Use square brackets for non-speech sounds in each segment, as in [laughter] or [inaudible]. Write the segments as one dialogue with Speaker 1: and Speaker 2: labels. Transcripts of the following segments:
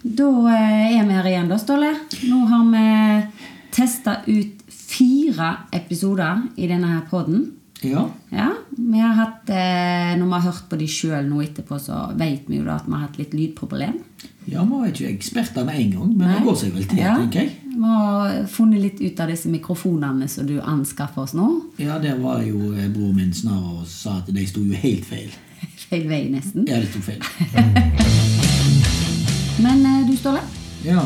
Speaker 1: Da eh, er vi her igjen, da, Ståle. Nå har vi testa ut fire episoder i denne her podden.
Speaker 2: Ja.
Speaker 1: Ja, vi har hatt, eh, Når vi har hørt på de sjøl nå etterpå, så vet vi jo da at vi har hatt litt lydproblem.
Speaker 2: ja, man er ikke eksperter med en gang, men det går seg vel til,
Speaker 1: Ja.
Speaker 2: tenker jeg.
Speaker 1: Vi har funnet litt ut av disse mikrofonene som du anskaffer oss nå. [laughs]
Speaker 2: Ja, der var jo eh, broren min snarere og sa at de sto jo helt feil.
Speaker 1: Feil vei, nesten.
Speaker 2: Ja, de sto
Speaker 1: [laughs]
Speaker 2: feil.
Speaker 1: Men eh, du, Ståle.
Speaker 2: Ja.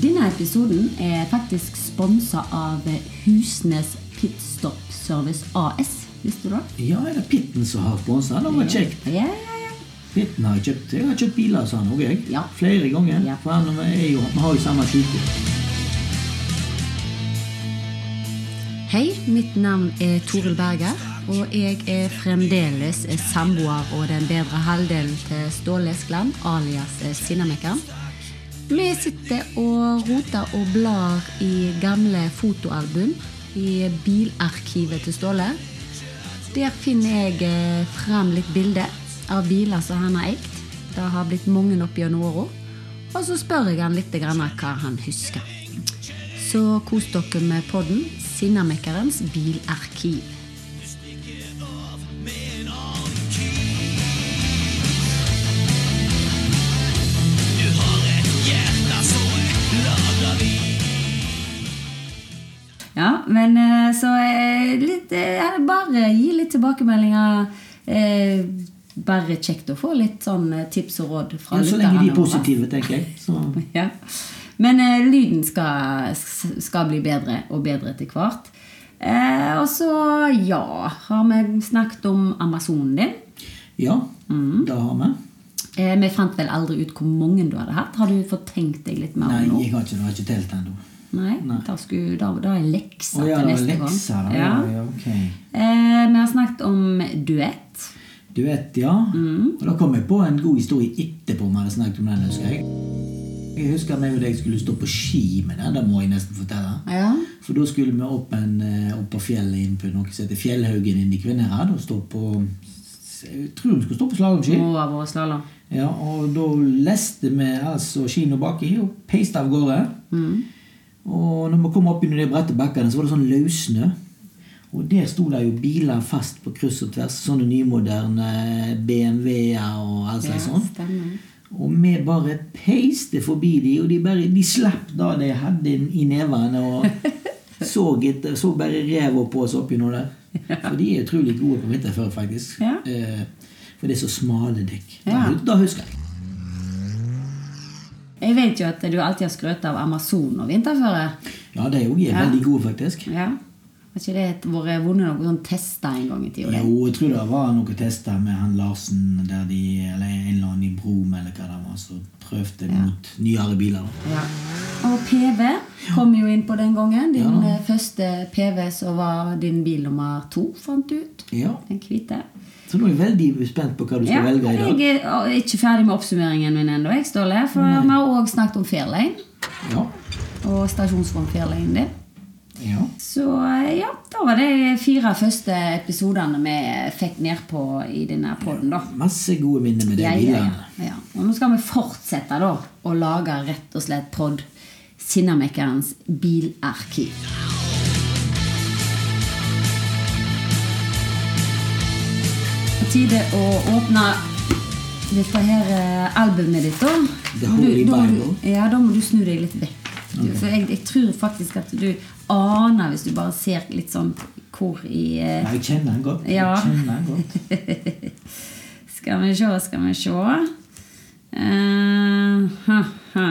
Speaker 1: Denne episoden er faktisk sponsa av Husnes Pitstop Service AS. Visste du det?
Speaker 2: ja, er det Pitten som har sponsa? Det var kjekt.
Speaker 1: Ja, ja, ja.
Speaker 2: Pitten har jeg kjøpt. Jeg har kjøpt biler hos han òg, jeg.
Speaker 1: Ja.
Speaker 2: Flere ganger.
Speaker 1: Ja.
Speaker 2: For han er jo, vi har jo samme sjuke.
Speaker 1: Hei, mitt navn er Toril Berger, og jeg er fremdeles samboer og den bedre halvdelen til Ståle Eskeland, alias Sinnamekkeren. Vi sitter og roter og blar i gamle fotoalbum i bilarkivet til Ståle. Der finner jeg eh, fram litt bilder av biler som han har eid. Det har blitt mange opp gjennom åra. Og så spør jeg han litt grann hva han husker. Så kos dere med podden Sinnamekkerens bilarkiv. Ja, men eh, så eh, litt, eh, ja, bare gi litt tilbakemeldinger. Eh, Bare kjekt å få litt sånn eh, tips og råd fra
Speaker 2: Ja, så lenge de
Speaker 1: lytterne
Speaker 2: er
Speaker 1: våre.
Speaker 2: positive, tenker jeg. Så.
Speaker 1: [laughs] Ja. Men eh, lyden skal, skal bli bedre og bedre etter hvert. Eh, og så, ja, har vi snakket om Amazonen din.
Speaker 2: Ja,
Speaker 1: Mm.
Speaker 2: det har vi.
Speaker 1: Eh, vi fant vel aldri ut hvor mange du hadde hatt. Har du fått tenkt deg litt mer
Speaker 2: Nei,
Speaker 1: om
Speaker 2: jeg har ikke, jeg har ikke telt ennå.
Speaker 1: Nei,
Speaker 2: Nei.
Speaker 1: Da, skulle, da, da er leksa
Speaker 2: Å ja,
Speaker 1: til
Speaker 2: det var
Speaker 1: neste
Speaker 2: lekser.
Speaker 1: gang.
Speaker 2: da. Ja. ja, ok.
Speaker 1: Eh, vi har snakket om duett.
Speaker 2: Du vet, ja. Og da kom jeg på en god historie etterpå vi hadde snakket om den, husker jeg. Jeg husker meg og deg skulle stå på ski med den, det må jeg nesten fortelle.
Speaker 1: Ja.
Speaker 2: For da skulle vi opp, en, eh, opp på fjellet inn på noe som heter Fjellhaugen inne i Kvinnherad og stå på Jeg tror vi skulle stå på slalåmski.
Speaker 1: Må ha vært slalåm.
Speaker 2: Ja, og da leste vi altså skien og baki og peiste av gårde.
Speaker 1: Mm.
Speaker 2: Og når vi kom opp under de bratte bakkene, så var det sånn løssnø. Og der sto det jo biler fast på kryss og tvers. Sånne nymoderne BMW-er og all slags sånn.
Speaker 1: stemmer.
Speaker 2: Og vi bare peiste forbi de, og de, bare, de slapp da de hadde inn i nevene.
Speaker 1: [laughs]
Speaker 2: Og så, etter, så bare ræva på oss oppi nå der. For de er utrolig gode på vinterføre, faktisk.
Speaker 1: Ja.
Speaker 2: Eh, For det er så smale dekk.
Speaker 1: Ja.
Speaker 2: Da, da husker jeg.
Speaker 1: Jeg vet jo at du alltid har skrøt av Amazon og vinterføre.
Speaker 2: Ja, de òg er
Speaker 1: Ja.
Speaker 2: veldig gode, faktisk.
Speaker 1: Ja. Har ikke det et- vært vunnet noen sånn tester en gang i tida? det?
Speaker 2: Jo, jeg tror det var noe tester med han Larsen, der de, eller en eller annen i Brom, eller hva det var, som prøvde mot nyere biler. da.
Speaker 1: Ja. Og PV kom jo inn på den gangen. Din
Speaker 2: Ja.
Speaker 1: eh, første PV som var din bil nummer to, fant du ut.
Speaker 2: Ja.
Speaker 1: Den hvite.
Speaker 2: Så nå er jeg veldig spent på hva du skal
Speaker 1: Ja,
Speaker 2: velge i dag.
Speaker 1: jeg er og er ikke ferdig med oppsummeringen min ennå, jeg, Ståle. For vi har òg snakket om Fairlane
Speaker 2: Ja.
Speaker 1: og stasjonsform Fairlane din.
Speaker 2: ja.
Speaker 1: Så eh, ja, da var det de fire første episodene vi fikk nedpå i denne poden, da.
Speaker 2: Masse gode minner med de
Speaker 1: Ja, ja,
Speaker 2: bilene.
Speaker 1: ja. ja. Og nå skal vi fortsette da å lage rett og slett pod Sinnamekkerens bilarkiv. På tide å åpne dette her eh, albumet ditt, da.
Speaker 2: The Holy
Speaker 1: da må
Speaker 2: Bible.
Speaker 1: Du, ja, da må du snu deg litt vekk. Du, For jeg, jeg tror faktisk at du aner, hvis du bare ser litt sånn hvor i eh,
Speaker 2: Ja, jeg kjenner den godt.
Speaker 1: Ja.
Speaker 2: Jeg kjenner den godt.
Speaker 1: Skal vi se, skal vi se. Eh, ha, ha.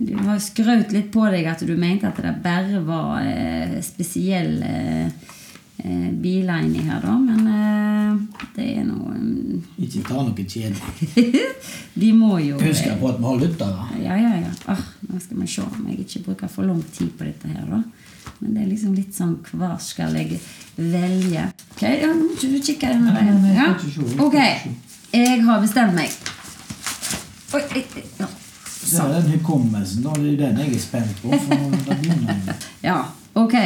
Speaker 1: Du har skrøt litt på deg at du mente at det bare var eh, spesielle eh, eh, biler inni her, da. Men eh, det er nå mm, [laughs]
Speaker 2: Ikke ta noe kjedelig.
Speaker 1: De må jo
Speaker 2: Husk på at vi har lyttere.
Speaker 1: Ja, ja, ja. Ah, nå skal vi se om jeg ikke bruker for lang tid på dette her, da. Men det er liksom litt sånn hva skal jeg velge? Ok, ja, nå skal du kikke denne
Speaker 2: Nei,
Speaker 1: veien.
Speaker 2: nei,
Speaker 1: Ja.
Speaker 2: jeg skal ikke se, jeg skal
Speaker 1: Ok,
Speaker 2: ikke
Speaker 1: jeg har bestemt meg. Oi, jeg, jeg, ja.
Speaker 2: Så er det den hukommelsen, da. Det er jo den jeg er spent på. For da begynner jeg.
Speaker 1: ja, ok.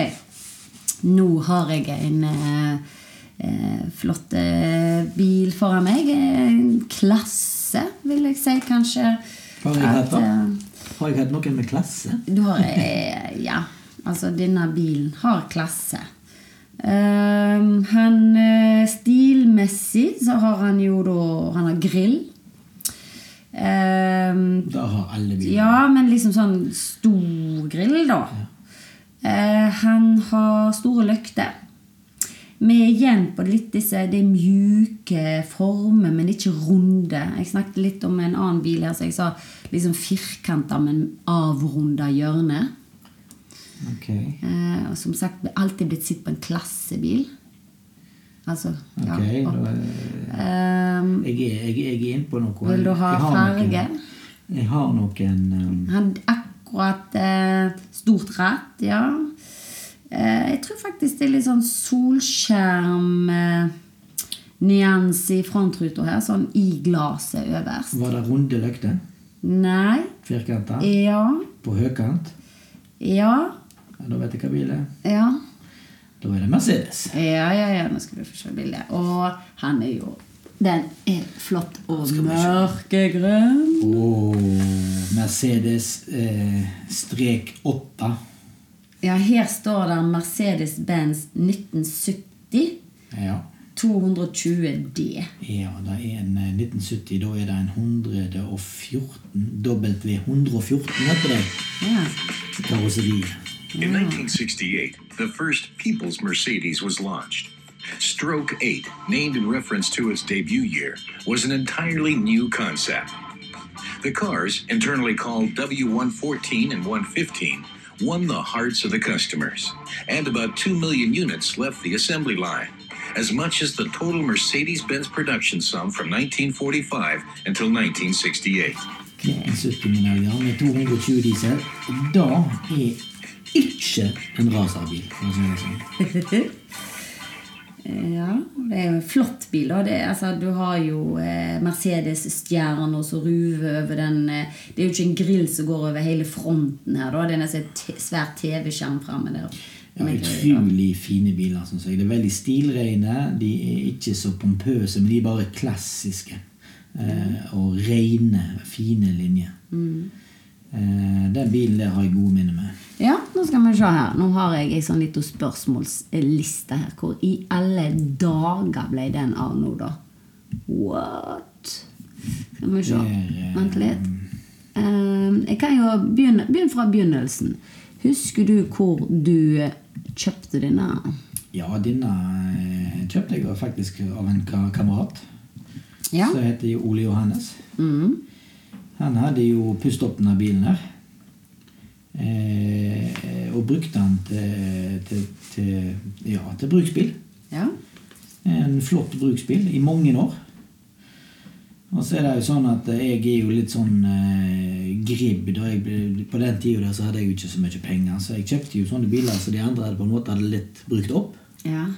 Speaker 1: Nå har jeg en eh, eh, flott eh, bil foran meg. En klasse, vil jeg si, kanskje.
Speaker 2: Har jeg
Speaker 1: At,
Speaker 2: hatt det?
Speaker 1: eh,
Speaker 2: Har jeg hatt noen med klasse?
Speaker 1: Du har eh, Ja. Altså, denne bilen har klasse. Ehm, han eh, Stilmessig så har han jo da Han har grill. Ehm,
Speaker 2: Da har alle biler.
Speaker 1: ja, men liksom sånn stor grill, da. Eh, han har store lykter. Vi er igjen på litt disse de mjuke former, men ikke runde. Jeg snakket litt om en annen bil her, så jeg sa liksom firkanta, men avrunda hjørne.
Speaker 2: Ok.
Speaker 1: Eh, og som sagt, vi har alltid blitt sett på en klassebil. Altså, ja.
Speaker 2: Ok,
Speaker 1: opp.
Speaker 2: da er-
Speaker 1: Ehm,
Speaker 2: jeg, er, jeg, er- jeg er inne på noe.
Speaker 1: Vil du ha
Speaker 2: Jeg har noen- eh,
Speaker 1: farge?
Speaker 2: Jeg har noen um,
Speaker 1: Han hadde akkurat eh, stort ratt, ja. Eh, jeg tror faktisk det er litt sånn solskjerm-nyanse i frontruta her, sånn i glasset øverst.
Speaker 2: eh, Var det runde løkter?
Speaker 1: Nei.
Speaker 2: Firkanta?
Speaker 1: Ja.
Speaker 2: På høykant?
Speaker 1: Ja.
Speaker 2: Ja, da vet jeg hva bil er.
Speaker 1: Ja.
Speaker 2: Da er det Mercedes.
Speaker 1: Ja, ja, ja, nå skal du få se bildet. Og han er jo Den er flott og mørkegrønn.
Speaker 2: Åh, Mercedes eh, strek 8.
Speaker 1: Ja, her står det Mercedes-Benz 1970
Speaker 2: Ja.
Speaker 1: 220 D.
Speaker 2: ja, det er en eh, 1970. Da er det en 114 W114, vet du det?
Speaker 1: Ja.
Speaker 2: Karosseri.
Speaker 3: In 1968, the first People's Mercedes was launched. Stroke 8, named in reference to its debut year, was an entirely new concept. The cars, internally called W114 and 115, won the hearts of the customers, and about 2 million units left the assembly line, as much as the total Mercedes Benz production sum from 1945 until 1968.
Speaker 2: 1970-medaljer med 220 diesel. Det er ikke en racerbil. for å si det sånn.
Speaker 1: Ja, det er jo en flott bil. da. Det, er- altså, du har jo eh, Mercedes-stjerna som ruver over den eh, Det er jo ikke en grill som går over hele fronten her, da. Det er nesten et t- svært TV-skjerm framme der.
Speaker 2: Ja,
Speaker 1: Med grill, da.
Speaker 2: utrolig fine biler, syns jeg. Det er veldig stilrene. De er ikke så pompøse, men de er bare klassiske. Eh, og rene, fine linjer. Eh, den bilen der har jeg gode minner med.
Speaker 1: Ja, nå skal vi se her. Nå har jeg ei sånn lita spørsmålsliste her. Hvor i alle dager ble den av nå, da? What? Skal vi se.
Speaker 2: Det er, eh,
Speaker 1: Vent litt. Ehm, jeg kan jo begynne, begynne fra begynnelsen. Husker du hvor du eh, kjøpte denne?
Speaker 2: Ja, denne eh, kjøpte jeg faktisk av en ka kamerat.
Speaker 1: Ja.
Speaker 2: Som heter jo Ole Johannes. Han hadde jo pustet opp denne bilen her. Eh, og brukte den til, til, til, ja, til bruksbil.
Speaker 1: Ja.
Speaker 2: En flott bruksbil i mange år. Og så er det jo sånn at jeg er jo litt sånn eh, gribb. Da jeg, ble- på den tida der så hadde jeg jo ikke så mye penger, så jeg kjøpte jo sånne biler som de andre hadde på en måte hadde litt brukt opp.
Speaker 1: Ja.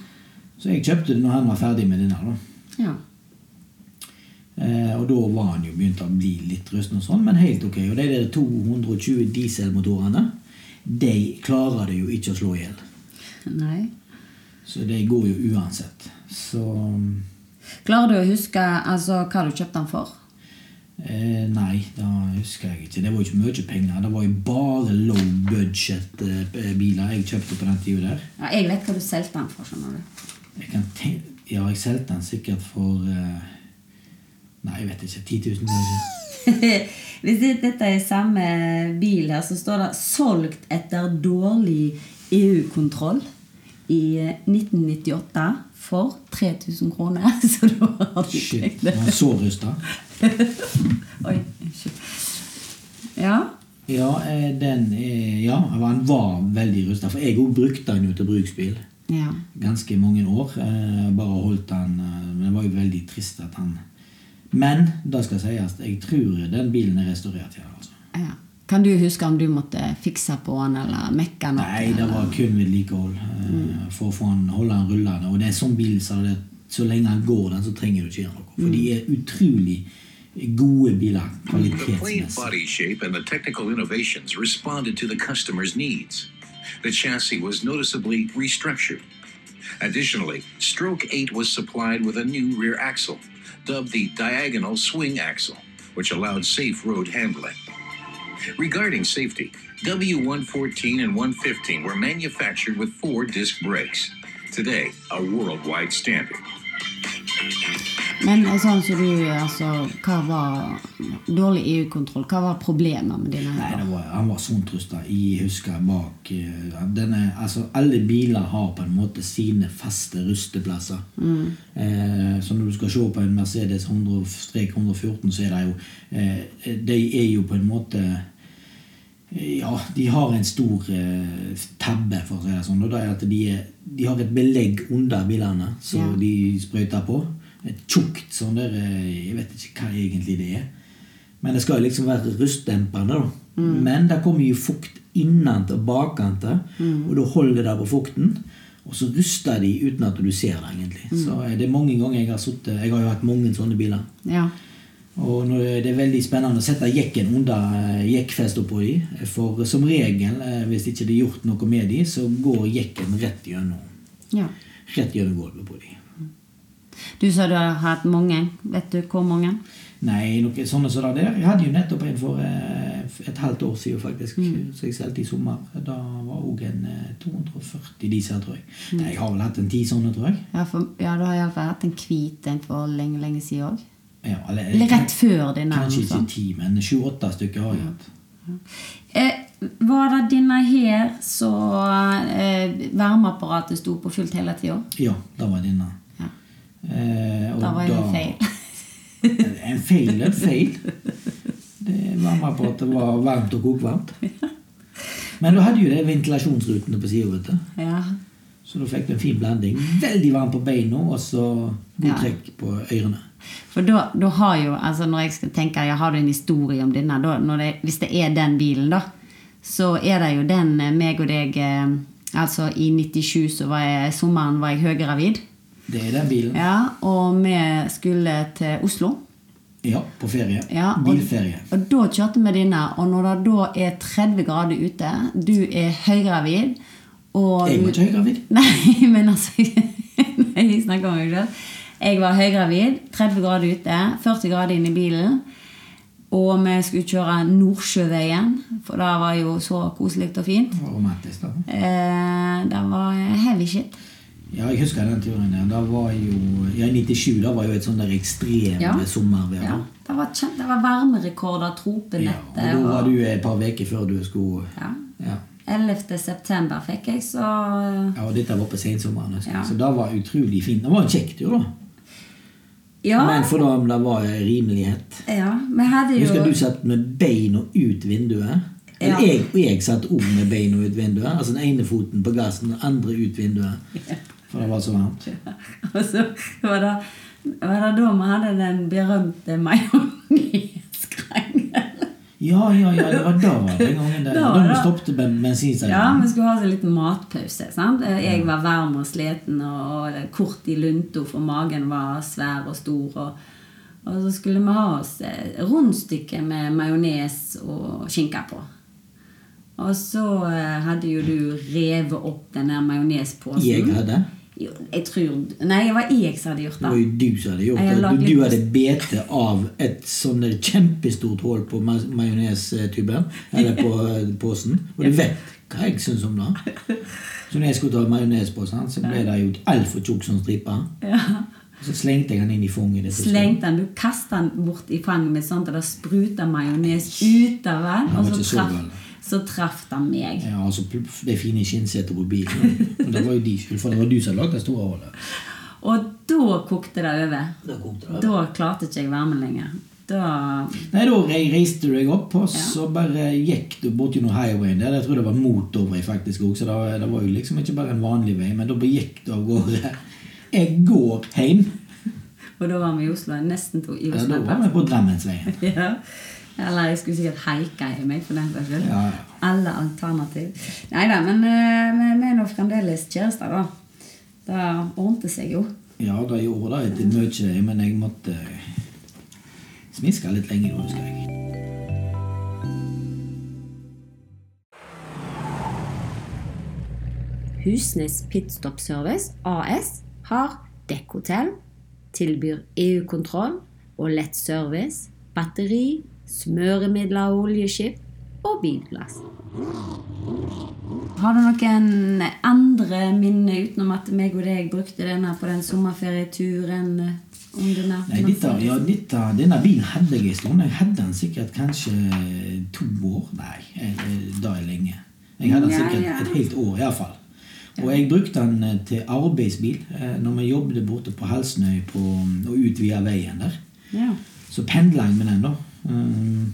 Speaker 2: Så jeg kjøpte det når han var ferdig med denne. da.
Speaker 1: ja.
Speaker 2: Eh, og da var han jo begynt å bli litt rusten og sånn, men helt ok. Og de der 220 dieselmotorene, de klarer det jo ikke å slå i hjel.
Speaker 1: Nei.
Speaker 2: Så de går jo uansett. Så
Speaker 1: Klarer du å huske altså, hva du kjøpte den for?
Speaker 2: Eh, nei, da husker jeg ikke. Det var jo ikke mye penger. Det var jo bare low budget-biler jeg kjøpte på den tida der.
Speaker 1: Ja, jeg vet hva du solgte den for, skjønner du.
Speaker 2: Jeg kan ten- ja, jeg solgte den sikkert for eh, Nei, jeg vet ikke. 10 000, kanskje.
Speaker 1: [laughs] Hvis det- dette er samme bil her, så står det 'solgt etter dårlig EU-kontroll' i eh, 1998 for 3000 kroner. [laughs] Så da har du
Speaker 2: Shit.
Speaker 1: tenkt
Speaker 2: Jeg
Speaker 1: det.
Speaker 2: var så rusta.
Speaker 1: [laughs] Oi, unnskyld. Ja.
Speaker 2: Ja, eh, den er Ja, han var veldig rusta. For jeg òg brukte den jo til bruksbil.
Speaker 1: ja.
Speaker 2: ganske mange år. Eh, bare holdt han eh, Men det var jo veldig trist at han Men det skal sies, jeg tror den bilen er restaurert igjen. altså.
Speaker 1: ja. Kan du huske om du måtte fikse på den eller mekke noe?
Speaker 2: Nei, det var kun vedlikehold eh, for å få han, holde han rullende. Og det er en sånn bil så, det, så lenge han går den, så trenger du ikke gjøre noe. For de er utrolig gode biler
Speaker 3: The plain
Speaker 2: kvalitetsmessig.
Speaker 3: body shape and the technical innovations responded to the customer's needs. The chassis was noticeably restructured. Additionally, Stroke 8 was supplied with a new rear axle, dubbed the diagonal swing axle, which allowed safe road handling. Regarding safety, W114 and 115 were manufactured with four disc brakes. Today, a worldwide standard.
Speaker 1: Men sånn som du altså, Hva var dårlig EU-kontroll? Hva var problemet med dine
Speaker 2: Nei,
Speaker 1: høyder?
Speaker 2: det var, han var sontrusta i husker bak eh, denne, altså Alle biler har på en måte sine faste rusteplasser. Eh, så når du skal se på en Mercedes 100-114, så er det jo eh, De er jo på en måte eh, ja, de har en stor eh, tabbe, for å si det sånn. Og det er at de, er, de har et belegg under bilene som
Speaker 1: Ja.
Speaker 2: de sprøyter på. Et tjukt sånn der eh, Jeg vet ikke hva egentlig det er. Men det skal jo liksom være rustdempende, da. Men det kommer jo fukt innant og bakant, og da holder det på fukten. Og så ruster de uten at du ser det, egentlig. Så eh, det er mange ganger jeg har sittet Jeg har jo hatt mange sånne biler.
Speaker 1: Ja.
Speaker 2: Og nå er det veldig spennende å sette jekken under eh, jekkfest oppå de. For som regel, eh, hvis ikke det er gjort noe med de, så går jekken rett gjennom
Speaker 1: ja.
Speaker 2: Rett gjennom gulvet på de.
Speaker 1: Du sa du har hatt mange. Vet du hvor mange?
Speaker 2: Nei, noe sånne som det der. Jeg hadde jo nettopp en for eh, et halvt år siden, faktisk.
Speaker 1: Mm.
Speaker 2: Så jeg solgte i sommer. Da var òg en eh, 240 diesel, tror jeg.
Speaker 1: Mm.
Speaker 2: Nei, jeg har vel hatt en ti sånne, tror jeg.
Speaker 1: Ja, for, ja du har iallfall hatt en hvit en for lenge, lenge siden òg.
Speaker 2: Ja, eller,
Speaker 1: Eller rett før din altså.
Speaker 2: Kanskje
Speaker 1: nærmeste.
Speaker 2: ikke ti, men 28 stykker har jeg hatt.
Speaker 1: Eh, var det denne her så eh, varmeapparatet sto på fullt hele tida?
Speaker 2: Ja, det var denne.
Speaker 1: Ja.
Speaker 2: Eh, og
Speaker 1: Det var jo en feil. [laughs]
Speaker 2: En feil er en feil. Det Varmeapparatet var varmt og kokvarmt. Men du hadde jo de ventilasjonsrutene på sida, vet du.
Speaker 1: ja.
Speaker 2: Så da fikk du en fin blanding. Veldig varm på beina, og så
Speaker 1: Ja.
Speaker 2: god trekk på ørene.
Speaker 1: For da, da har jo, altså når jeg skal tenke, jeg har du en historie om denne, da, når det, hvis det er den bilen da, så er det jo den eh, meg og deg, eh, altså i 97 så var jeg, sommeren var jeg høygravid,
Speaker 2: Det er den bilen.
Speaker 1: ja, og vi skulle til Oslo.
Speaker 2: Ja, på ferie.
Speaker 1: Ja, og,
Speaker 2: Bilferie.
Speaker 1: Og da kjørte vi denne, og når det da er 30 grader ute, du er høygravid, og
Speaker 2: Jeg var ikke høygravid.
Speaker 1: [laughs] Nei, men altså [laughs] Nei, jeg snakker om meg selv. Jeg var høygravid, 30 grader ute, 40 grader inne i bilen. Og vi skulle kjøre Nordsjøveien, for det var jo så koselig og fint.
Speaker 2: Det var romantisk, da.
Speaker 1: Eh, det var heavy shit.
Speaker 2: Ja, jeg husker den turen der. Da var jo Ja, i 97 da var jo et sånn der ekstremt
Speaker 1: Ja.
Speaker 2: sommervær.
Speaker 1: Ja, det var, kjem- det var varmerekorder,
Speaker 2: Ja, og
Speaker 1: tropenettet
Speaker 2: da var
Speaker 1: og
Speaker 2: du et par uker før du skulle
Speaker 1: ja.
Speaker 2: ja.
Speaker 1: 11. september fikk jeg, så eh,
Speaker 2: Ja, og dette var på sensommeren. altså.
Speaker 1: Ja.
Speaker 2: Så det var utrolig fint. Det var en kjekk tur, da.
Speaker 1: Ja.
Speaker 2: Men for da det var rimelighet.
Speaker 1: ja vi hadde
Speaker 2: Jeg
Speaker 1: jo
Speaker 2: husker du satt med beina ut vinduet. Eller
Speaker 1: Ja.
Speaker 2: jeg, jeg satt om med beina ut vinduet. Altså den ene foten på gassen, den andre ut vinduet. For det var så varmt.
Speaker 1: [laughs] Og så var det, var det da vi hadde den berømte majoneskrangelen.
Speaker 2: Ja, ja, ja, det var da den gangen. Der.
Speaker 1: Da
Speaker 2: Da
Speaker 1: var
Speaker 2: vi
Speaker 1: det-
Speaker 2: stoppet ben-
Speaker 1: Ja,
Speaker 2: bensinstasjonen.
Speaker 1: vi skulle ha oss en liten matpause. sant? Jeg var varm og sliten og og kort i lunta, for magen var svær og stor. og og så skulle vi ha oss eh, rundstykke med majones og skinke på. Og så eh, hadde jo du revet opp den der majonespåsen.
Speaker 2: Jeg hadde.
Speaker 1: Jo, jeg tror Nei, det var jeg som hadde gjort
Speaker 2: Det
Speaker 1: det.
Speaker 2: var jo du som hadde gjort
Speaker 1: Jeg har
Speaker 2: det.
Speaker 1: lagt
Speaker 2: Du,
Speaker 1: litt-
Speaker 2: du hadde bete av et sånn der kjempestort hull på ma majonestuben.
Speaker 1: [laughs]
Speaker 2: Eller på eh, posen. Og du vet hva jeg syns om det. Så når jeg skulle ta majonespåsen, så ble det jo altfor tjukk som stripe.
Speaker 1: Ja.
Speaker 2: Så slengte jeg den inn i fanget. ditt.
Speaker 1: Slengte den, du kastet den bort i fanget mitt sånn at det spruta majones ut av den,
Speaker 2: Den var
Speaker 1: og
Speaker 2: ikke
Speaker 1: så
Speaker 2: så
Speaker 1: traff,
Speaker 2: gal.
Speaker 1: så traff den meg.
Speaker 2: Ja, altså pluff, Det fine skinnsetet på bilen. Og det var jo de skyld, for det var du som hadde lagd det store hullet.
Speaker 1: Og da kokte det over.
Speaker 2: Da kokte det.
Speaker 1: Da klarte ikke jeg varmen lenger. Da
Speaker 2: Nei, da re- reiste du deg opp, og så bare gikk du bort gjennom highwayen der. Jeg tror det var motorvei faktisk også, så det, det var jo liksom ikke bare en vanlig vei, men da bare gikk du av gårde. Jeg går hjem.
Speaker 1: Og da var vi i Oslo, nesten to i
Speaker 2: Ja,
Speaker 1: Oslo.
Speaker 2: da var vi på Drammensveien.
Speaker 1: [laughs] Ja. Eller jeg skulle sikkert haika i meg, for den saks skyld.
Speaker 2: Ja, ja.
Speaker 1: Alle alternativ. Nei da, men eh, vi vi er nå fremdeles kjærester, da. Det ordnet seg jo.
Speaker 2: Ja, da gjorde det etter mye, men jeg måtte smiske litt lenger, nå, husker jeg.
Speaker 1: Husnes Pitstop Service AS har dekkhotell, tilbyr EU-kontroll og lett service, batteri, smøremidler og oljeskip og bilglass. Har du noen andre minner utenom at meg og deg brukte denne på den sommerferieturen? eh, Om denne,
Speaker 2: Nei, dette, ja, dette, denne bilen hadde jeg en stund. Jeg hadde den sikkert kanskje to år. Nei, jeg- da er lenge. Jeg hadde den
Speaker 1: Ja,
Speaker 2: sikkert
Speaker 1: ja.
Speaker 2: et helt år iallfall. Og jeg brukte den eh, til arbeidsbil eh, når vi jobbet borte på Halsnøy på, og ut via veien der.
Speaker 1: Ja.
Speaker 2: Så pendla jeg med den, da. Mm.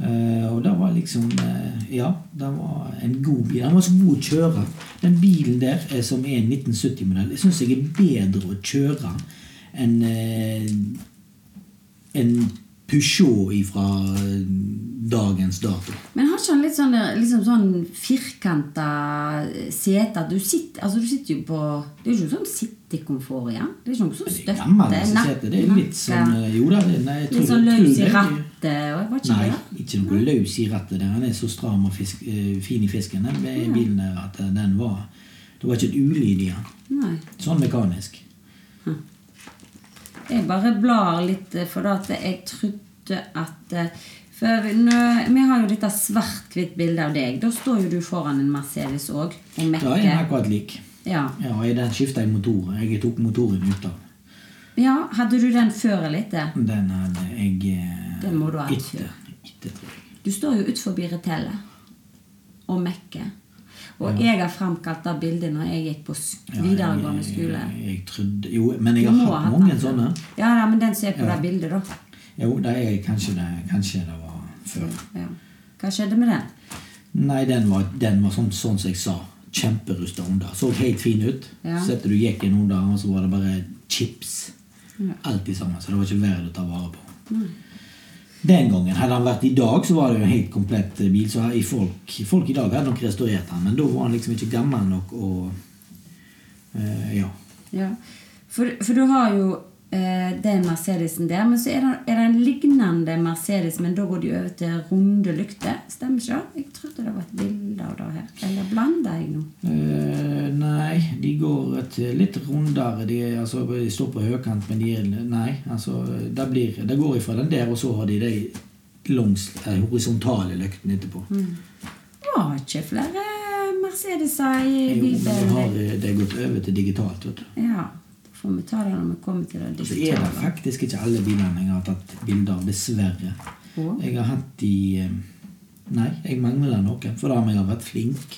Speaker 2: Eh, og det var liksom eh, Ja, det var en god bil. Den var så god å kjøre. Den bilen der eh, som er en 1970-modell, syns jeg er bedre å kjøre enn eh, en Peugeot fra dagens dato.
Speaker 1: Men har ikke han litt sånn, der- liksom sånn firkanta sete? at Du sitter, altså du sitter jo på Det er jo ikke sånn sittekomfort igjen. Det er ikke noe sånn
Speaker 2: Det
Speaker 1: støtte.
Speaker 2: er gammel, så sier jeg at det er litt
Speaker 1: nakke.
Speaker 2: sånn eh, Jo da, det, nei, jeg tror-
Speaker 1: Litt sånn
Speaker 2: tror
Speaker 1: løs
Speaker 2: det
Speaker 1: i
Speaker 2: er-
Speaker 1: rattet og var ikke
Speaker 2: Nei,
Speaker 1: det?
Speaker 2: ikke noe løs i rattet. der. Han er så stram og fisk, eh, fin i fisken den med bilen der at eh, den var Det var ikke et ulyd i den.
Speaker 1: Nei.
Speaker 2: Sånn mekanisk.
Speaker 1: Jeg bare blar litt, eh, for da at jeg trodde at eh, For vi- nå, vi har jo dette svart-hvitt bildet av deg. Da står jo du foran en Mercedes òg og
Speaker 2: Da er den
Speaker 1: mekker.
Speaker 2: akkurat lik.
Speaker 1: Ja.
Speaker 2: Ja, og i den skifta jeg motor. Jeg tok motoren ut av
Speaker 1: ja. Hadde du den før eller etter?
Speaker 2: den. hadde jeg eh,
Speaker 1: Den må du ha
Speaker 2: etter. Etter, tror jeg.
Speaker 1: Du står jo utenfor retellet og mekker. Og jeg har fremkalt det bildet når jeg gikk på sk-
Speaker 2: Ja,
Speaker 1: videregående
Speaker 2: jeg-
Speaker 1: skole.
Speaker 2: Jeg, jeg trodde, jo, men jeg
Speaker 1: Du
Speaker 2: har
Speaker 1: må ha
Speaker 2: hatt
Speaker 1: hatt
Speaker 2: mange
Speaker 1: den før.
Speaker 2: sånne.
Speaker 1: Ja, ja, men den som er på det bildet, da.
Speaker 2: Jo, det er kanskje det, kanskje det var før.
Speaker 1: Ja. Hva skjedde med den?
Speaker 2: Nei, den var, den var sånn, sånn som jeg sa. Kjemperusta under. Så helt fin ut.
Speaker 1: Ja.
Speaker 2: Sette du jekken under, og så var det bare chips. Alt i sammen. Så det var ikke verdt å ta vare på. Den gangen. Hadde han vært i dag, så var det jo en helt komplett eh, bil. Så her i folk, folk i dag hadde nok restaurert han, men da var han liksom ikke gammel nok å eh, Ja.
Speaker 1: Ja. For, for du har jo eh, den Mercedesen der, men så er det, er det en lignende Mercedes, men da går de over til runde lykter. Stemmer ikke det? Jeg trodde det var et bilde av det her. Eller blanda jeg nå?
Speaker 2: Eh, nei, de går et litt rundere. De, er- altså, de står på høykant, men de er Nei, altså Det, blir, det går ifra den der, og så har de de langs eh, horisontale lyktene etterpå.
Speaker 1: Det var ikke flere Mercedeser i
Speaker 2: Jo, men de har,
Speaker 1: bibelen.
Speaker 2: eh, det er gått over til digitalt. Vet du.
Speaker 1: Ja. Da får vi ta det når vi kommer til det
Speaker 2: Så Altså, er det
Speaker 1: digitale.
Speaker 2: faktisk ikke alle bilene jeg har tatt bilde av, dessverre.
Speaker 1: Å?
Speaker 2: Jeg har hatt de eh, Nei, jeg mangler noen, for da har jeg vært flink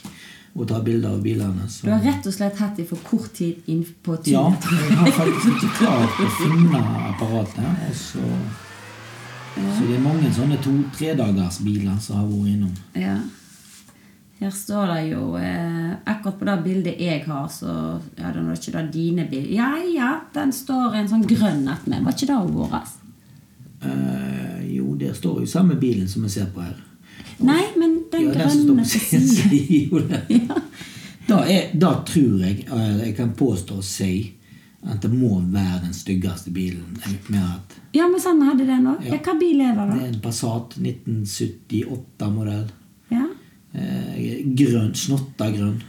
Speaker 2: å ta bilder av bilene. så-
Speaker 1: Du har rett og slett hatt det for kort tid inn på
Speaker 2: Ja,
Speaker 1: turen.
Speaker 2: jeg har faktisk ikke klart å finne apparatet. Og så, så det er mange sånne to-tredagersbiler som har vært innom.
Speaker 1: Ja. Her står det jo eh, Akkurat på det bildet jeg har, så ja, det var ikke det dine bilder. Ja, ja, den står en sånn grønn attmed. Var ikke det vår?
Speaker 2: Eh, jo, der står jo samme bilen som vi ser på her.
Speaker 1: Nei, men den
Speaker 2: Ja, den som står
Speaker 1: grønne
Speaker 2: på
Speaker 1: siden.
Speaker 2: siden [laughs] sier jo det. Da, er, da tror jeg eh, jeg kan påstå og si at det må være den styggeste bilen. Jeg Med at
Speaker 1: Ja, men sånn hadde den òg. Ja.
Speaker 2: Ja.
Speaker 1: hva bil er det,
Speaker 2: det
Speaker 1: da?
Speaker 2: er en Passat 1978-modell.
Speaker 1: Ja.
Speaker 2: Eh, grønn. Snotta grønn.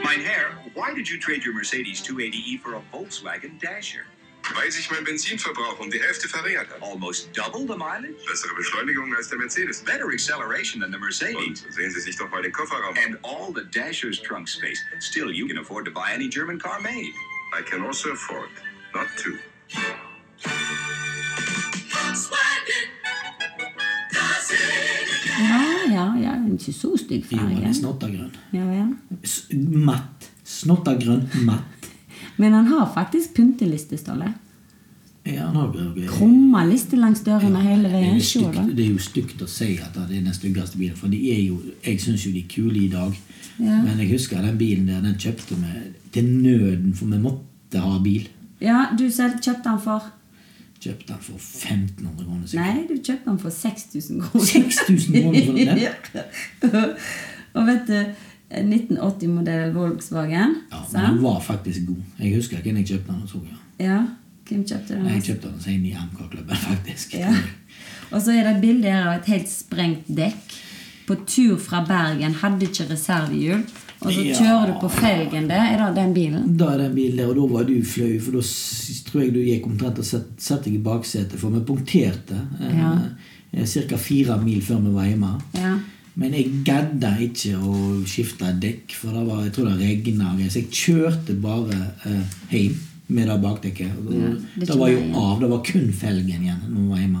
Speaker 4: Mein Herr, why did you trade your Mercedes 280e for a Volkswagen Dasher?
Speaker 5: Weil sich mein Benzinverbrauch um die Hälfte verringert hat.
Speaker 4: Almost double the mileage?
Speaker 5: Bessere Beschleunigung als der Mercedes.
Speaker 4: Better acceleration than the
Speaker 5: Und
Speaker 4: Mercedes.
Speaker 5: sehen Sie sich doch mal den Kofferraum
Speaker 4: And
Speaker 5: an.
Speaker 4: all the Dasher's trunk space. Still, you can afford to buy any German car made.
Speaker 5: I can also afford not to.
Speaker 1: ja, ja, ja. Den er ikke så stygg
Speaker 2: Jo, den er
Speaker 1: farge.
Speaker 2: snotta grønn.
Speaker 1: Ja, ja.
Speaker 2: S- Matt. Snotta grønn, matt.
Speaker 1: Men han har faktisk pynteliste, står det.
Speaker 2: Ja, han har jo-
Speaker 1: Krumma liste langs dørene hele
Speaker 2: Det er
Speaker 1: veien.
Speaker 2: jo
Speaker 1: Se, da.
Speaker 2: stygt- det er jo stygt å si at det er den styggeste bilen, for de er jo, jeg syns jo de er kule i dag.
Speaker 1: Ja.
Speaker 2: Men jeg husker den bilen der, den kjøpte vi til nøden, for vi måtte ha bil.
Speaker 1: Ja, du selv kjøpte den for
Speaker 2: Kjøpte den for 1500 kroner. sikkert.
Speaker 1: Nei, du kjøpte den for 6000 kroner.
Speaker 2: 6000 kroner for den?
Speaker 1: [laughs] ja. Og vet du, 1980-modell Volkswagen.
Speaker 2: Ja, men den
Speaker 1: sant?
Speaker 2: var faktisk god. Jeg husker hvem jeg kjøpte den og så. Ja.
Speaker 1: ja. Hvem kjøpte den?
Speaker 2: Jeg kjøpte den sent i MK-klubben, [laughs] faktisk.
Speaker 1: Ja. Og så er det et bilde her av et helt sprengt dekk. På tur fra Bergen, hadde ikke reservehjul. Og så kjører du på felgen der. Er det den bilen?
Speaker 2: Da er den bilen der, og da var du flau, for da s- tror jeg du gikk omtrent og set- satte deg i baksetet, for vi punkterte
Speaker 1: Ja.
Speaker 2: eh, ca. fire mil før vi var hjemme.
Speaker 1: Ja.
Speaker 2: Men jeg gadda ikke å skifte dekk, for det var, jeg tror det regna. Så jeg kjørte bare eh, hjem med det bakdekket. Og
Speaker 1: Ja,
Speaker 2: det,
Speaker 1: det
Speaker 2: var jo
Speaker 1: kjenner jeg igjen.
Speaker 2: av. Det var kun felgen igjen når vi var hjemme.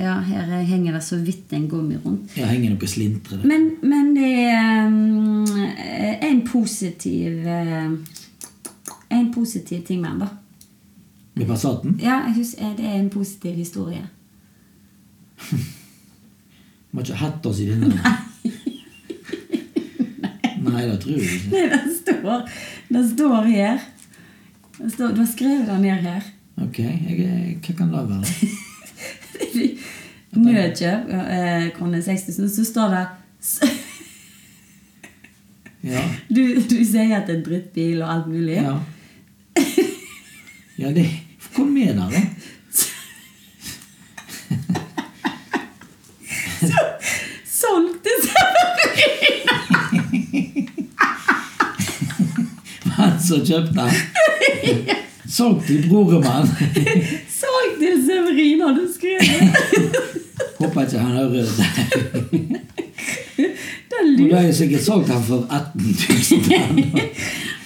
Speaker 1: ja, her henger det så vidt en gummi rundt.
Speaker 2: Her henger noe slintre. der.
Speaker 1: Men, men det er um, en positiv eh, En positiv ting med den, da.
Speaker 2: Med Passaten
Speaker 1: Ja, jeg synes eh, det er en positiv historie. [laughs]
Speaker 2: Vi har ikke hatt oss i denne.
Speaker 1: [laughs]
Speaker 2: Nei, Nei det tror jeg ikke.
Speaker 1: Nei, den står, den står her. Den står, du har skrevet den ned her. [laughs]
Speaker 2: Ok, jeg, hva kan det være?
Speaker 1: Nødkjøp, eh, krone 6000, så står det s- [laughs]
Speaker 2: Ja,
Speaker 1: du, du sier at det er en drittbil og alt mulig.
Speaker 2: ja. ja det, kom med der, da.
Speaker 1: Solgt til Severin!
Speaker 2: Han som kjøpte den. Solgt til broremann.
Speaker 1: [laughs] Solgt til Severin, har du skrevet. [laughs]
Speaker 2: Håper ikke han hører det.
Speaker 1: Den
Speaker 2: Og
Speaker 1: lurer.
Speaker 2: da har jeg sikkert solgt han for 18 000.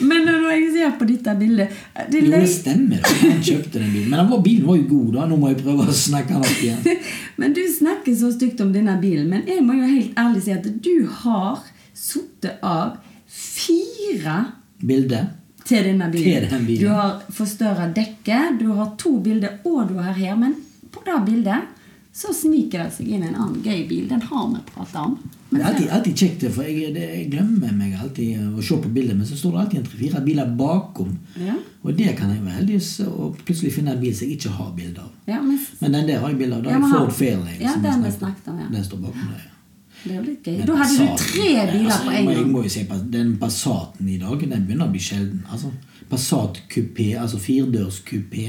Speaker 1: Men når jeg ser på dette bildet det
Speaker 2: Jo, det
Speaker 1: løy-
Speaker 2: stemmer. det. Han kjøpte den bilen. Men den var, bilen var jo god, da. Nå må jeg prøve å snakke han opp igjen.
Speaker 1: [laughs] Men du snakker så stygt om denne bilen, men jeg må jo helt ærlig si at du har sittet av fire
Speaker 2: Bilde.
Speaker 1: til denne bilen.
Speaker 2: Til den bilen.
Speaker 1: Du har forstørra dekket, du har to bilder, og du har her. Men på det bildet så sniker det seg inn en annen gøy bil. Den har vi pratet om.
Speaker 2: Det er alltid, alltid kjekt, det, for jeg, det, jeg glemmer meg alltid å se på bildet. Men så står det alltid en tre-fire biler bakom.
Speaker 1: Ja.
Speaker 2: Og det kan jeg være heldig så- og plutselig finne en bil som jeg ikke har bilde av.
Speaker 1: Ja, men
Speaker 2: Men den der har jeg bilde av. Da
Speaker 1: Ja,
Speaker 2: er
Speaker 1: men han-
Speaker 2: Ford Fairlane.
Speaker 1: Ja,
Speaker 2: som
Speaker 1: den vi
Speaker 2: snakket
Speaker 1: snakket om, ja.
Speaker 2: Den står bakom der. ja.
Speaker 1: det er jo litt gøy.
Speaker 2: Men
Speaker 1: Da hadde du
Speaker 2: Passaten-
Speaker 1: tre biler på
Speaker 2: altså, jeg
Speaker 1: en
Speaker 2: må- Jeg
Speaker 1: gang.
Speaker 2: må jo si Pass- Den Passaten i dag den begynner å bli sjelden. Altså, Passat kupé, altså firedørs kupé,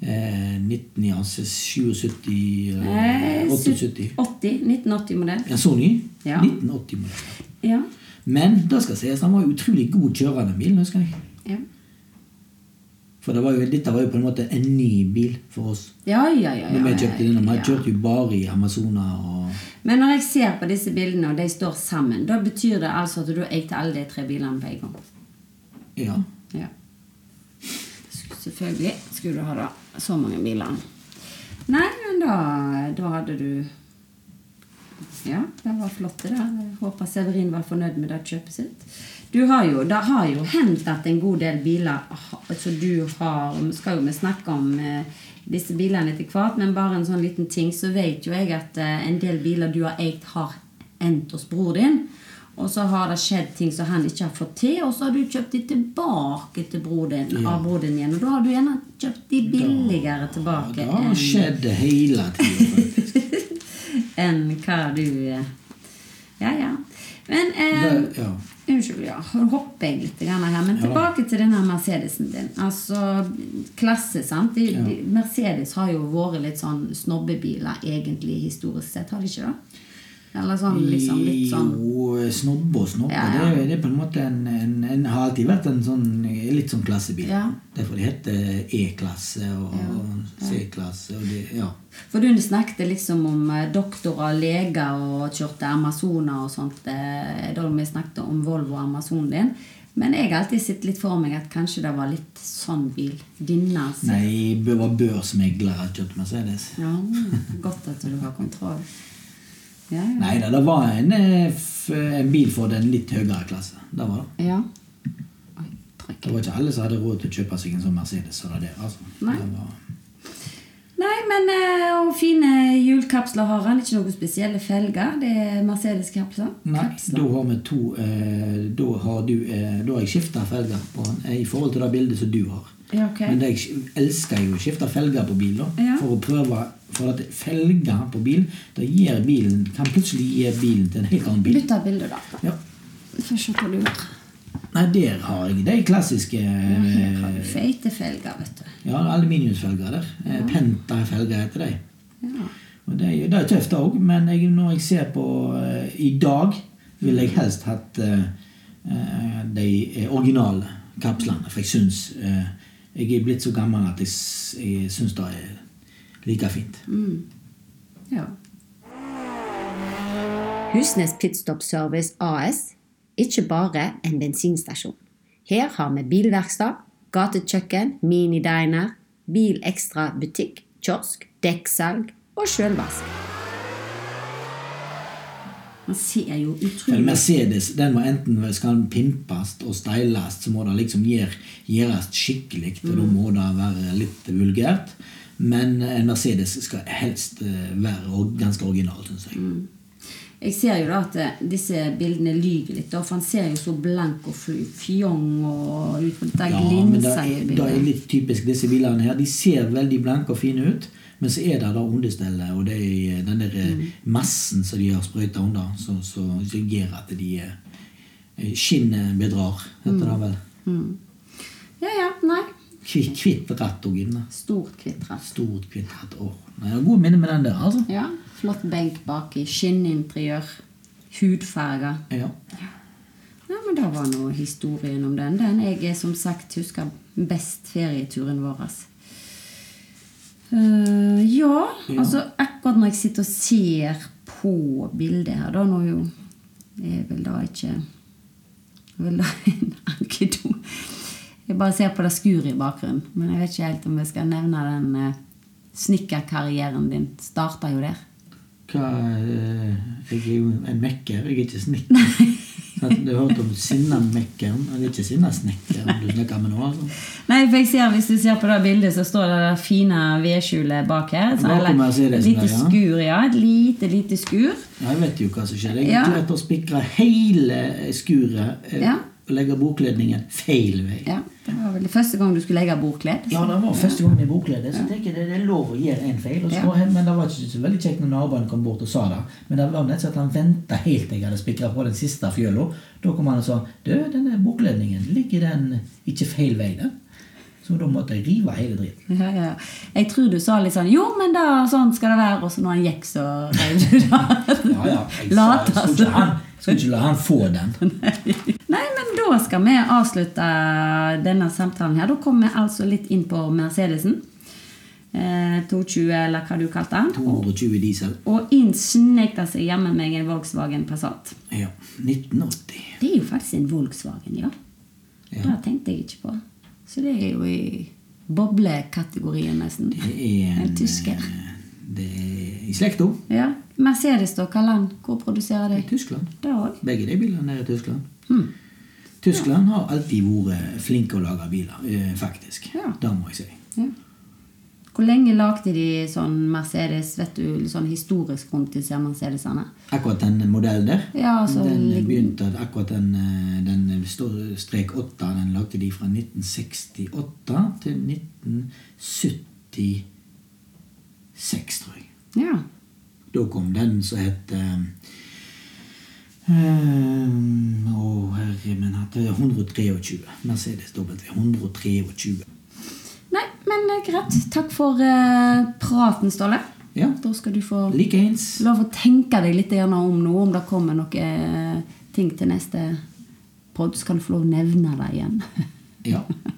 Speaker 2: eh, 19 i altså 77
Speaker 1: Eh,
Speaker 2: eller 78
Speaker 1: 80, 1980-modell.
Speaker 2: Ja, så ny?
Speaker 1: Ja.
Speaker 2: 1980-modell.
Speaker 1: Ja.
Speaker 2: Men det skal sies, den var jo utrolig god kjørende bil, husker jeg.
Speaker 1: Ja.
Speaker 2: For det var jo, dette var jo på en måte en ny bil for oss.
Speaker 1: Ja, ja, ja,
Speaker 2: Når
Speaker 1: ja,
Speaker 2: vi
Speaker 1: ja,
Speaker 2: kjøpte den, og vi
Speaker 1: ja.
Speaker 2: kjørte jo bare i Amazona og
Speaker 1: Men når jeg ser på disse bildene, og de står sammen, da betyr det altså at du eide alle de tre bilene på en gang?
Speaker 2: Ja.
Speaker 1: Ja. Sk- Selvfølgelig skulle du ha da så mange biler. Nei, men da, da hadde du Ja, det var flott, det der. Jeg Håper Severin var fornøyd med det kjøpet sitt. Du har jo, det har jo hendt at en god del biler ha- som du har Vi skal jo vi snakke om eh, disse bilene etter hvert, men bare en sånn liten ting, så vet jo jeg at eh, en del biler du har eid, har endt hos bror din. Og så har det skjedd ting som han ikke har fått til, og så har du kjøpt de tilbake til bror din, av bror din igjen. Og da har du gjerne kjøpt de billigere tilbake
Speaker 2: Det
Speaker 1: enn-
Speaker 2: har skjedd hele tida.
Speaker 1: enn hva du eh, Ja, ja. Men eh,
Speaker 2: Det- ja.
Speaker 1: Unnskyld, ja. Nå hopper jeg litt grann her. Men
Speaker 2: Ja da.
Speaker 1: tilbake til denne Mercedesen din. Altså klasse, sant. De,
Speaker 2: Ja.
Speaker 1: de, Mercedes har jo vært litt sånn snobbebiler egentlig historisk sett, har de ikke det? Eller sånn liksom [laughs] litt sånn
Speaker 2: Jo, eh, snobbe og snobbe.
Speaker 1: Ja, ja.
Speaker 2: Det, er, det er på en måte en, en, en har alltid vært en sånn eh, litt sånn klassebil.
Speaker 1: Ja.
Speaker 2: Derfor det heter eh, E-klasse og C-klasse og det Ja.
Speaker 1: For du snakket liksom om eh, doktorer og leger og kjørte Amazoner og sånt. eh, Da vi snakket om Volvo og Amazonen din. Men jeg har alltid sett litt for meg at kanskje det var litt sånn bil. Denne. altså.
Speaker 2: Nei, det var børsmeglere kjøpte Mercedes.
Speaker 1: Ja, godt at du har kontroll. Ja, ja.
Speaker 2: Nei da, det var en, eh, f- en bil for den litt høyere klasse. Det var det.
Speaker 1: ja. Oi, trykk.
Speaker 2: Det var ikke alle som hadde råd til å kjøpe seg en sånn Mercedes. Så det, er det, altså.
Speaker 1: Nei.
Speaker 2: Det var,
Speaker 1: Nei, men eh, og fine hjulkapsler har han. Ikke noen spesielle felger. Det er Mercedes-kapsler.
Speaker 2: Nei,
Speaker 1: Kapsler.
Speaker 2: da har vi to eh, Da har du eh, Da har jeg skifta felger på han eh, i forhold til det bildet som du har.
Speaker 1: Ja, ok.
Speaker 2: Men det jeg sk- elsker jo å skifte felger på bil, da.
Speaker 1: Ja.
Speaker 2: For å prøve For at felger på bil Det gir bilen kan plutselig gi bilen til en helt annen bil.
Speaker 1: Bytt av bilde, da.
Speaker 2: Ja.
Speaker 1: Få se hva du gjør.
Speaker 2: Nei, der har jeg de klassiske
Speaker 1: Ja, her
Speaker 2: eh,
Speaker 1: har du feite felger, vet du.
Speaker 2: Ja, aluminiumsfelger der. Eh, Penta-felger heter de.
Speaker 1: Ja.
Speaker 2: Og det, er jo- det er tøft òg, men jeg, når jeg ser på eh, i dag, ville jeg helst hatt eh, eh, de eh, originale kapslene. For jeg syns eh, Jeg er blitt så gammel at jeg, s- jeg syns det er like fint.
Speaker 1: Ja. Husnes Pitstop Service AS ikke bare en bensinstasjon. Her har vi bilverkstad, gatekjøkken, minidiner, bilekstra-butikk, kiosk, dekksalg og sjølvask. Man ser jo
Speaker 2: Men
Speaker 1: utrolig
Speaker 2: Mercedes den må enten skal den pimpes og styles, så må det liksom gjør- gjøres skikkelig, og da må det være litt vulgært. Men eh, en Mercedes skal helst eh, være or- ganske original, syns jeg.
Speaker 1: Jeg ser jo da at eh, disse bildene lyver litt, da, for han ser jo så blank og fl- fjong og ut på dette
Speaker 2: men det,
Speaker 1: glinser i
Speaker 2: det er
Speaker 1: bildet.
Speaker 2: litt typisk disse bilene her. De ser veldig blanke og fine ut, men så er det da understellet og det er den der eh, massen som de har sprøyta under, som som gjør at de eh, Skinnet bedrar, heter det vel.
Speaker 1: Ja, ja, nei.
Speaker 2: Kvitt, kvitt ratt og inne.
Speaker 1: Stort kvittrat.
Speaker 2: Stort kvittert år. Nei, jeg har gode minner med den der, altså.
Speaker 1: Ja, flott benk baki, skinninteriør, hudfarger.
Speaker 2: Ja.
Speaker 1: Ja, men det var nå historien om den. Den jeg er, som sagt husker best ferieturen vår. Eh, ja, altså akkurat når jeg sitter og ser på bildet her, da nå jo Jeg vil da ikke Jeg vil da [laughs] en ankedo. Jeg bare ser på det skuret i bakgrunnen. Men jeg vet ikke helt om jeg skal nevne den eh, snekkerkarrieren din. Starta jo der.
Speaker 2: Hva, eh, jeg er jo en mekker, jeg er ikke snekker. Sant? Du har hørt om sinnamekkeren, og det er ikke sinnasnekkeren du snakker med nå. altså.
Speaker 1: Nei, for jeg ser, Hvis du ser på det bildet, så står det det fine vedskjulet bak her. Så
Speaker 2: Bakom
Speaker 1: eller-
Speaker 2: her ser det
Speaker 1: lite
Speaker 2: sånn, ja.
Speaker 1: skur, ja. Et lite, lite skur.
Speaker 2: Jeg vet jo hva som skjer. Jeg
Speaker 1: Ja.
Speaker 2: ja. klarte å spikre hele skuret eh,
Speaker 1: Ja.
Speaker 2: og legge bokledningen feil vei.
Speaker 1: Ja, Det var vel første gang du skulle legge bordkledd.
Speaker 2: Ja, det var første gangen i bokledet, så tenker jeg det, det er lov å gjøre en feil. Og så, Men det var ikke så veldig kjekt når naboen kom bort og sa det. Men det var nesten at han venta helt til jeg hadde spikra på den siste fjøla. Da kom han og sa Du, denne bokledningen, ligger den ikke feil vei, den? Så da måtte jeg rive hele dritten.
Speaker 1: Ja, ja. Jeg tror du sa litt sånn Jo, men da, sånn skal det være. Og så når han gikk, så reiv du det.
Speaker 2: Ja, ja, jeg sa-
Speaker 1: Later
Speaker 2: jeg skulle
Speaker 1: som.
Speaker 2: ikke han- jeg Skulle ikke la han få [laughs] den.
Speaker 1: Nei, men da skal vi avslutte denne samtalen her. Da kommer vi altså litt inn på Mercedesen. Eh, 220, eller hva du kalte den.
Speaker 2: 220 diesel.
Speaker 1: Og inn snek det seg jammen meg en Volkswagen Passat.
Speaker 2: Ja. 1980.
Speaker 1: Det er jo faktisk en Volkswagen, ja.
Speaker 2: Ja.
Speaker 1: Det tenkte jeg ikke på. Så det er jo i boblekategorien, nesten.
Speaker 2: Det er eh,
Speaker 1: En tysker.
Speaker 2: Det er i slekta.
Speaker 1: Ja. Mercedes, da? Hva land? Hvor produserer
Speaker 2: I
Speaker 1: de?
Speaker 2: Tyskland.
Speaker 1: Det òg.
Speaker 2: Begge de bilene er i Tyskland.
Speaker 1: Hmm.
Speaker 2: Tyskland har alltid vært flinke å lage biler, eh, faktisk.
Speaker 1: Ja.
Speaker 2: Det må jeg si.
Speaker 1: Ja. Hvor lenge lagde de sånn Mercedes vet du, sånn historisk rundt disse Mercedesene?
Speaker 2: Akkurat den modellen der,
Speaker 1: Ja, altså,
Speaker 2: den
Speaker 1: lik-
Speaker 2: begynte at akkurat den, eh, den står- strek 8, den lagde de fra 1968 til 1976, tror jeg.
Speaker 1: Ja.
Speaker 2: Da kom den som het eh, eh, Å, herre min hatt. 123. Mercedes W123.
Speaker 1: Nei, men eh, greit. Takk for eh, praten, Ståle.
Speaker 2: Ja.
Speaker 1: Da skal du få
Speaker 2: Likeens.
Speaker 1: lov å tenke deg litt gjerne om nå, om det kommer eh, noen ting til neste podd, så kan du få lov å nevne det igjen.
Speaker 2: Ja.